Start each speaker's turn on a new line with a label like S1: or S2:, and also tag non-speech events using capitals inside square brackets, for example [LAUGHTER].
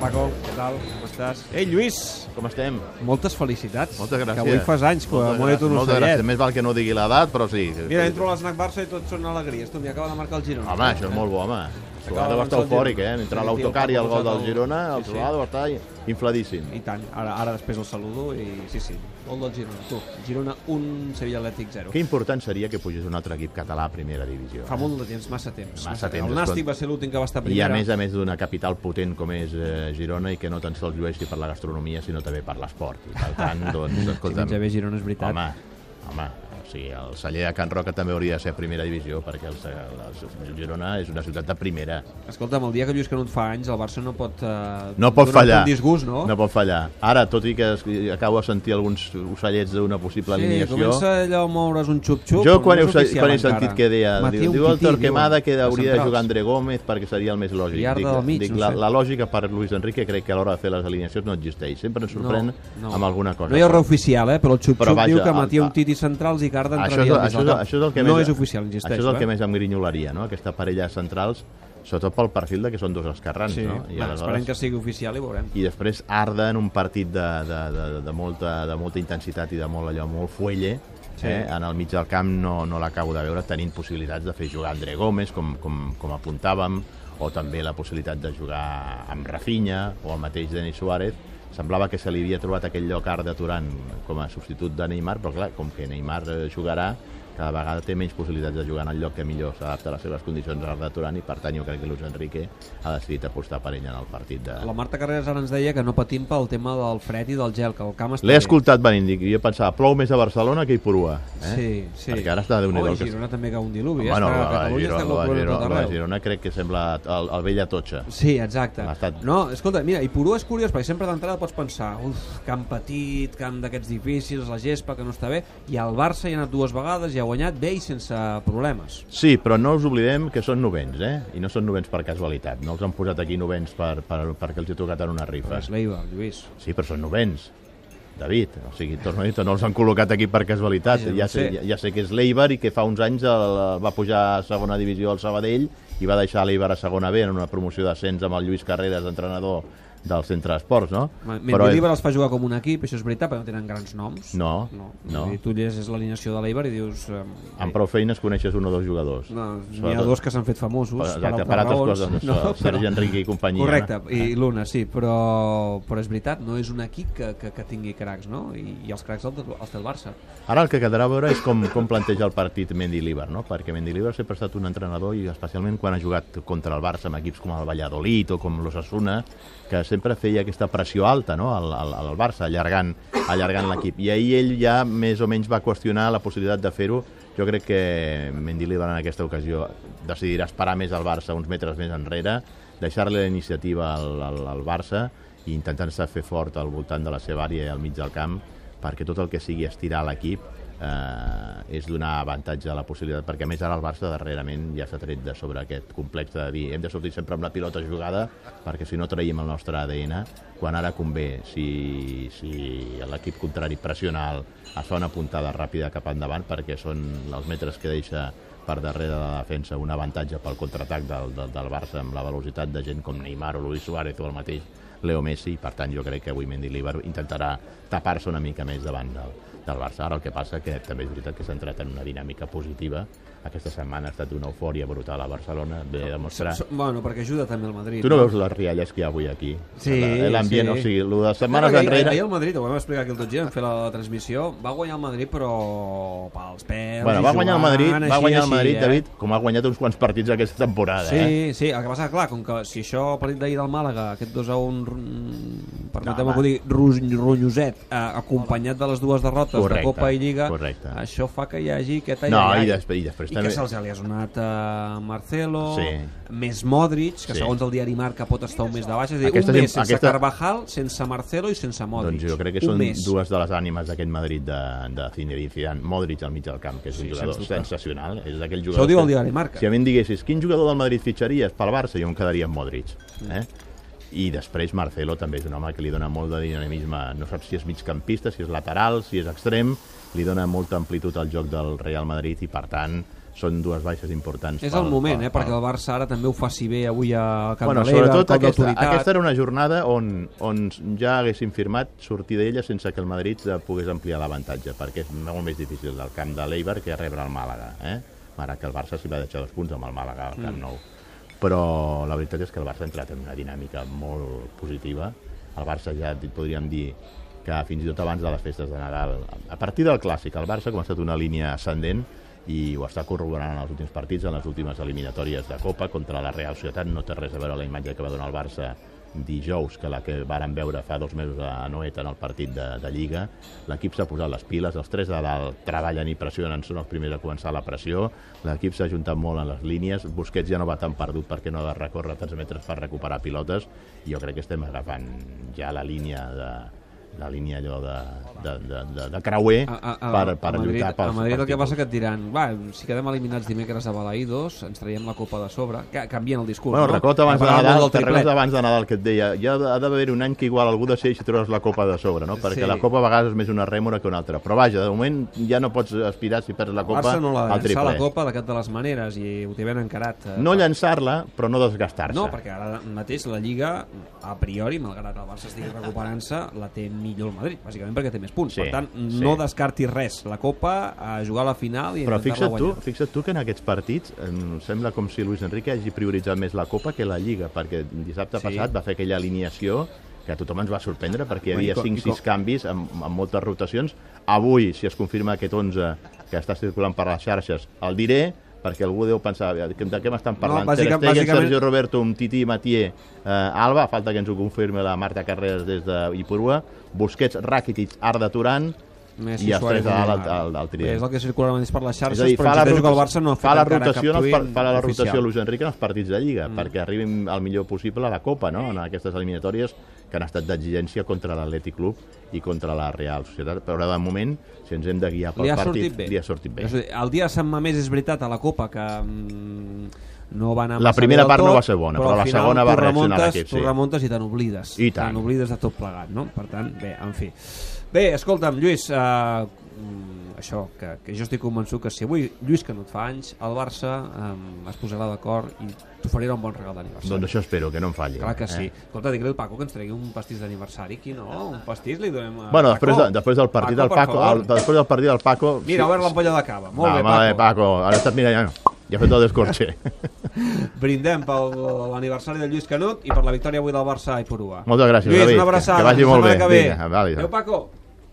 S1: Paco, què tal? Com estàs?
S2: Ei, Lluís!
S3: Com estem?
S1: Moltes felicitats.
S3: Moltes gràcies.
S1: Que avui fas anys, que
S3: Moltes
S1: m'he
S3: gràcies,
S1: un
S3: Moltes gràcies.
S1: ocellet.
S3: Més val que no digui l'edat, però sí.
S1: Mira, entro a l'esnac Barça i tot són alegries. Tu, m'hi acaba de marcar el Girona.
S3: Home, això és molt bo, home. Suado va estar
S1: doncs el
S3: eufòric, eh?
S1: Girona.
S3: Entre
S1: Sí,
S3: l'autocar
S1: tio,
S3: i el gol del
S1: posat el-
S3: Girona, el
S1: Sí, sí.
S3: Suado va estar infladíssim.
S1: I tant, ara, ara després el saludo i sí, sí, gol del Girona. Tu, Girona 1, Sevilla Atlètic 0.
S3: Que important seria que pugés un altre equip català a primera divisió.
S1: Fa molt de temps, massa temps.
S3: Massa temps,
S1: El Nàstic
S3: escolta.
S1: va ser l'últim que va estar a
S3: I a
S1: primera.
S3: més a més d'una capital potent com és eh, Girona i que no tan sols llueixi per la gastronomia sinó també per l'esport. I per
S1: [LAUGHS]
S3: tant, doncs,
S1: si
S3: escolta'm,
S1: menja bé Girona, és veritat.
S3: home, home, o sigui, el celler de Can Roca també hauria de ser primera divisió perquè el, el, Girona és una ciutat de primera.
S1: Escolta'm, el dia que Lluís Canut fa anys, el Barça no pot... Eh,
S3: No pot
S1: donar-te
S3: fallar.
S1: Un disgust, no?
S3: No pot fallar. Ara, tot i que es- acabo de sentir alguns ocellets d'una possible
S1: sí,
S3: alineació...
S1: comença allò a moure's un xup-xup.
S3: Jo quan,
S1: no
S3: heu,
S1: és
S3: se-
S1: oficial
S3: quan he
S1: encara.
S3: sentit que deia,
S1: Matí,
S3: diu,
S1: un
S3: diu el
S1: pití,
S3: Torquemada
S1: diuen,
S3: que
S1: de
S3: hauria de
S1: centrals.
S3: jugar André Gómez perquè seria el més lògic.
S1: Villar
S3: dic,
S1: del mig,
S3: dic
S1: no
S3: la,
S1: sé.
S3: la lògica per Luis Enrique crec que a l'hora de fer les alineacions no existeix. Sempre ens sorprèn amb alguna cosa.
S1: No hi ha res oficial, eh? però el xup-xup
S3: Però vaja,
S1: diu que
S3: el-
S1: Matia
S3: el-
S1: un titi centrals i Garda
S3: això és,
S1: entraria
S3: el,
S1: al mig del
S3: això, és, el-
S1: camp.
S3: això és el que
S1: no
S3: més,
S1: és oficial, insisteixo.
S3: Això és el
S1: eh?
S3: que més em grinyolaria, no? aquesta parella de centrals, sobretot pel perfil de que són dos escarrans.
S1: Sí.
S3: No?
S1: I Va, esperem que sigui oficial i veurem.
S3: i després Arda en un partit de, de, de, de, molta, de molta intensitat i de molt allò, molt fuelle,
S1: Sí.
S3: sí. eh? en el mig del camp no, no l'acabo de veure tenint possibilitats de fer jugar André Gómez, com, com, com apuntàvem, o també la possibilitat de jugar amb Rafinha o el mateix Denis Suárez. Semblava que se li havia trobat aquell lloc Arda Turan com a substitut de Neymar, però clar, com que Neymar eh, jugarà, cada vegada té menys possibilitats de jugar en el lloc que millor s'adapta a les seves condicions Arda Turan i per tant jo crec que Luis Enrique ha decidit apostar per ell en el partit de,
S1: La Marta Carreras ara ens deia que no patim pel tema del fred i del gel, que el camp està
S3: L'he
S1: bé.
S3: escoltat venint, dic, jo pensava, plou més a Barcelona que a Ipurua. Eh?
S1: Sí, sí.
S3: Perquè ara està déu nhi
S1: Oh, i Girona també cau un diluvi. eh?
S3: Bueno,
S1: està,
S3: la, la,
S1: Catalunya
S3: Girona,
S1: està
S3: la,
S1: col·laborant
S3: Girona,
S1: tot
S3: la
S1: arreu.
S3: Girona crec que sembla el, el vell Atocha.
S1: Sí, exacte.
S3: Ha estat-
S1: No, escolta, mira, i Purú és curiós, perquè sempre d'entrada pots pensar uf, camp petit, camp d'aquests difícils, la gespa, que no està bé, i al Barça hi ha anat dues vegades i ha guanyat bé i sense problemes.
S3: Sí, però no us oblidem que són novens, eh? I no són novens per casualitat. No els han posat aquí novens per, per, perquè els he tocat en una rifa.
S1: És l'Eiva, Lluís.
S3: Sí, però són novens. David, o sigui, torno a dir, no els han col·locat aquí per casualitat.
S1: Ja ho
S3: Ja sé,
S1: sé.
S3: ja, ja sé que és l'Eibar i que fa uns anys el, va pujar a segona divisió al Sabadell i va deixar l'Eibar a segona B en una promoció d'ascens amb el Lluís Carreras, entrenador del centre d'esports, no?
S1: Mentre l'Eiva els fa jugar com un equip, això és veritat, perquè no tenen grans noms.
S3: No,
S1: no.
S3: no.
S1: I tu llegeixes l'alineació de l'Eiva i dius... Eh,
S3: amb prou feines coneixes un o dos jugadors.
S1: No, n'hi ha
S3: Sobretot-
S1: dos que s'han fet famosos
S3: Per-
S1: per,
S3: exacte,
S1: altres
S3: per altres
S1: raons.
S3: coses, no?
S1: però-
S3: Sergi Enrique i companyia,
S1: Correcte,
S3: no? Eh?
S1: i l'una, sí, però, però és veritat, no és un equip que, que, que tingui cracs, no? I, i els cracs els, té- els té el Barça.
S3: Ara el que quedarà a veure és com, com planteja el partit Mendy Líber, no? perquè Mendy Líber sempre ha estat un entrenador i especialment quan ha jugat contra el Barça amb equips com el Valladolid o com l'Osasuna, que sempre feia aquesta pressió alta no? al, al, al Barça, allargant allargant l'equip. I ahir ell ja més o menys va qüestionar la possibilitat de fer-ho. Jo crec que Mendy Líber en aquesta ocasió decidirà esperar més al Barça uns metres més enrere, deixar-li la iniciativa al, al, al Barça i intentant-se fer fort al voltant de la seva àrea i al mig del camp perquè tot el que sigui estirar l'equip eh, és donar avantatge a la possibilitat, perquè a més ara el Barça darrerament ja s'ha tret de sobre aquest complex de dir hem de sortir sempre amb la pilota jugada perquè si no traiem el nostre ADN quan ara convé, si, si l'equip contrari pressiona el, es fa una puntada ràpida cap endavant perquè són els metres que deixa per darrere de la defensa un avantatge pel contraatac del, del, del Barça amb la velocitat de gent com Neymar o Luis Suárez o el mateix Leo Messi i per tant jo crec que avui Mendy Líbar intentarà tapar-se una mica més davant del, del Barça. Ara el que passa que també és veritat que s'ha entrat en una dinàmica positiva. Aquesta setmana ha estat una eufòria brutal a Barcelona, ve a demostrar...
S1: So- Bueno, perquè ajuda també el Madrid.
S3: Tu no veus les rialles que hi ha avui aquí?
S1: Sí,
S3: La-
S1: sí.
S3: L'ambient, o sigui, lo de
S1: Setmanes
S3: setmanes
S1: ahir,
S3: enrere...
S1: Ahir el Madrid, ho vam explicar aquí el tot dia, vam fer la, transmissió, va guanyar el Madrid, però pels pèls...
S3: Bueno,
S1: i
S3: va guanyar el
S1: jugant,
S3: Madrid, va
S1: així,
S3: guanyar el Madrid,
S1: així, eh?
S3: David, com ha guanyat uns quants partits aquesta temporada, eh?
S1: Sí, sí, el que passa, clar, com que si això el partit d'ahir del Màlaga, aquest 2 a 1 mm, permeteu-me
S3: No,
S1: que ho digui, ru- ronyoset, eh, acompanyat de les dues derrotes
S3: Correcte,
S1: de Copa i Lliga,
S3: correcte.
S1: això fa que hi hagi aquest
S3: No,
S1: ai, ai,
S3: i
S1: ai.
S3: després- i després
S1: I
S3: també-
S1: que se'ls ha lesionat a Marcelo,
S3: Sí.
S1: més Modric, que
S3: Sí.
S1: segons el diari Marca pot estar un mes de baixa, és a dir,
S3: Aquesta
S1: un
S3: gent-
S1: mes sense
S3: aquesta-
S1: Carvajal, sense Marcelo i sense Modric.
S3: Doncs jo crec que
S1: un
S3: són
S1: mes.
S3: dues de les ànimes d'aquest Madrid de, de Zinedine Zidane. Modric al mig del camp, que és
S1: Sí,
S3: un jugador
S1: sens dubte.
S3: sensacional. És d'aquell
S1: Això ho
S3: jugador...
S1: diu el
S3: que-
S1: diari Marca.
S3: Si a mi em diguessis quin jugador del Madrid fitxaries pel Barça, jo em quedaria amb Modric.
S1: Mm.
S3: Eh? I després Marcelo també és un home que li dona molt de dinamisme. No saps si és migcampista, si és lateral, si és extrem. Li dona molta amplitud al joc del Real Madrid i, per tant, són dues baixes importants.
S1: És el moment, eh, perquè el Barça ara també ho faci bé avui a Camp
S3: Bueno,
S1: de l'Era,
S3: sobretot
S1: cop
S3: aquesta,
S1: d'autoritat.
S3: aquesta era una jornada on, on ja haguéssim firmat sortir d'ella sense que el Madrid eh, pogués ampliar l'avantatge, perquè és molt més difícil del camp de l'Eibar que rebre el Màlaga. Eh? Ara que el Barça s'hi va deixar dos punts amb el Màlaga al Camp Nou. Però la veritat és que el Barça ha entrat en una dinàmica molt positiva. El Barça ja et podríem dir que fins i tot abans de les festes de Nadal, a partir del Clàssic, el Barça ha començat una línia ascendent i ho està corroborant en els últims partits, en les últimes eliminatòries de Copa contra la Real Societat. No té res a veure la imatge que va donar el Barça dijous que la que varen veure fa dos mesos a Noeta en el partit de, de Lliga. L'equip s'ha posat les piles, els tres de dalt treballen i pressionen, són els primers a començar la pressió, l'equip s'ha juntat molt en les línies, Busquets ja no va tan perdut perquè no ha de recórrer tants metres per recuperar pilotes, i jo crec que estem agafant ja la línia de, la línia allò de, de, de, de, de creuer
S1: A, a, a,
S3: per, per
S1: a Madrid,
S3: lluitar pels
S1: a Madrid el que
S3: títols.
S1: passa que et diran va, si quedem eliminats dimecres a Balaïdos ens traiem la copa de sobre que canvien el discurs
S3: Bueno,
S1: no?
S3: recorda abans de
S1: Parlàvem
S3: Nadal,
S1: del
S3: te recordes
S1: triplet.
S3: abans de Nadal que et deia, ja ha d'haver un any que igual algú decideix treure's la copa de sobre, no?
S1: Sí.
S3: Perquè la copa a vegades és més una rèmora que una altra. Però vaja, de moment ja no pots aspirar si perds la
S1: el
S3: copa
S1: Barça no l'ha de
S3: al
S1: llançar
S3: triple.
S1: la copa de cap de les maneres i ho té ben encarat eh,
S3: No llançar-la, però no desgastar-se.
S1: no, perquè ara mateix la Lliga, a priori, malgrat el Barça estigui recuperant-se, la té millor el Madrid, bàsicament perquè té més punts.
S3: Sí,
S1: per tant,
S3: sí.
S1: no descartis res. La Copa, a jugar a la final i a
S3: Però
S1: intentar-la
S3: fixa't tu,
S1: guanyar.
S3: fixa't tu que en aquests partits em sembla com si Luis Enrique hagi prioritzat més la Copa que la Lliga, perquè dissabte
S1: Sí.
S3: sí. passat va fer aquella alineació que a tothom ens va sorprendre perquè hi
S1: Bueno, i
S3: havia
S1: co- i
S3: 5-6
S1: co-
S3: canvis amb, amb moltes rotacions. Avui, si es confirma aquest 11 que està circulant per les xarxes, el diré perquè algú deu pensar "De- de què m'estan parlant. No,
S1: bàsica-
S3: bàsica, Ter Stegen,
S1: bàsicament-
S3: Sergio Roberto, un Titi Matier, eh, Alba, a falta que ens ho confirmi la Marta Carreras des de Ipurua, Busquets, Rakitic, Arda Turan,
S1: Messi,
S3: i els
S1: Suárez
S3: tres a dalt
S1: Neymar.
S3: al- al- al trident.
S1: És el que circula ara mateix per les
S3: És
S1: xarxes,
S3: a dir,
S1: però
S3: fa la,
S1: insisteixo que el
S3: rotació-
S1: Barça no ha fet
S3: fa la
S1: encara
S3: rotació, en
S1: cap
S3: els
S1: tuit
S3: par- fa la
S1: oficial. Mm.
S3: rotació Luis Enrique en els partits de Lliga, perquè arribin el millor possible a la Copa, no? en aquestes eliminatòries que han estat d'exigència contra l'Atlètic Club i contra la Real Societat. Però ara, de moment, si ens hem de guiar pel
S1: Li ha
S3: partit,
S1: sortit bé.
S3: li ha sortit bé.
S1: És a dir, El dia de Sant Mamés és veritat a la Copa que mm, no va anar
S3: La
S1: massa
S3: primera
S1: bé del
S3: part no
S1: tot,
S3: va ser bona, però
S1: al
S3: la
S1: final
S3: segona va
S1: tu
S3: reaccionar
S1: remuntes-
S3: l'equip, sí.
S1: Tu remuntes i te n'oblides.
S3: I tant.
S1: Te n'oblides de tot plegat, no? Per tant, bé, en fi. Bé, escolta'm, Lluís, eh, mm, això, que, que jo estic convençut que si avui Lluís Canut fa anys, el Barça eh, es posarà d'acord i t'oferirà un bon regal d'aniversari.
S3: Doncs això espero, que no em falli.
S1: Clar que sí.
S3: Eh?
S1: Escolta, digue-li al Paco que ens tregui un pastís d'aniversari. Qui no? Un pastís li donem a
S3: Bueno, després, de,
S1: Paco.
S3: després del partit del
S1: Paco, per
S3: Paco,
S1: favor.
S3: el, després del partit del Paco...
S1: Mira, a veure l'ampolla de cava. Molt
S3: va,
S1: bé,
S3: va,
S1: Paco.
S3: bé, Paco. Ara estàs mirant... Ja, ja ha fet el descorxe.
S1: [LAUGHS] Brindem pel l'aniversari de Lluís Canut i per la victòria avui del Barça i Porua.
S3: Moltes gràcies,
S1: Lluís,
S3: David.
S1: una abraçada.
S3: Que vagi
S1: Fins la
S3: molt
S1: setmana
S3: bé.
S1: Que ve.
S3: Vinga, vale.
S1: Adéu, Paco.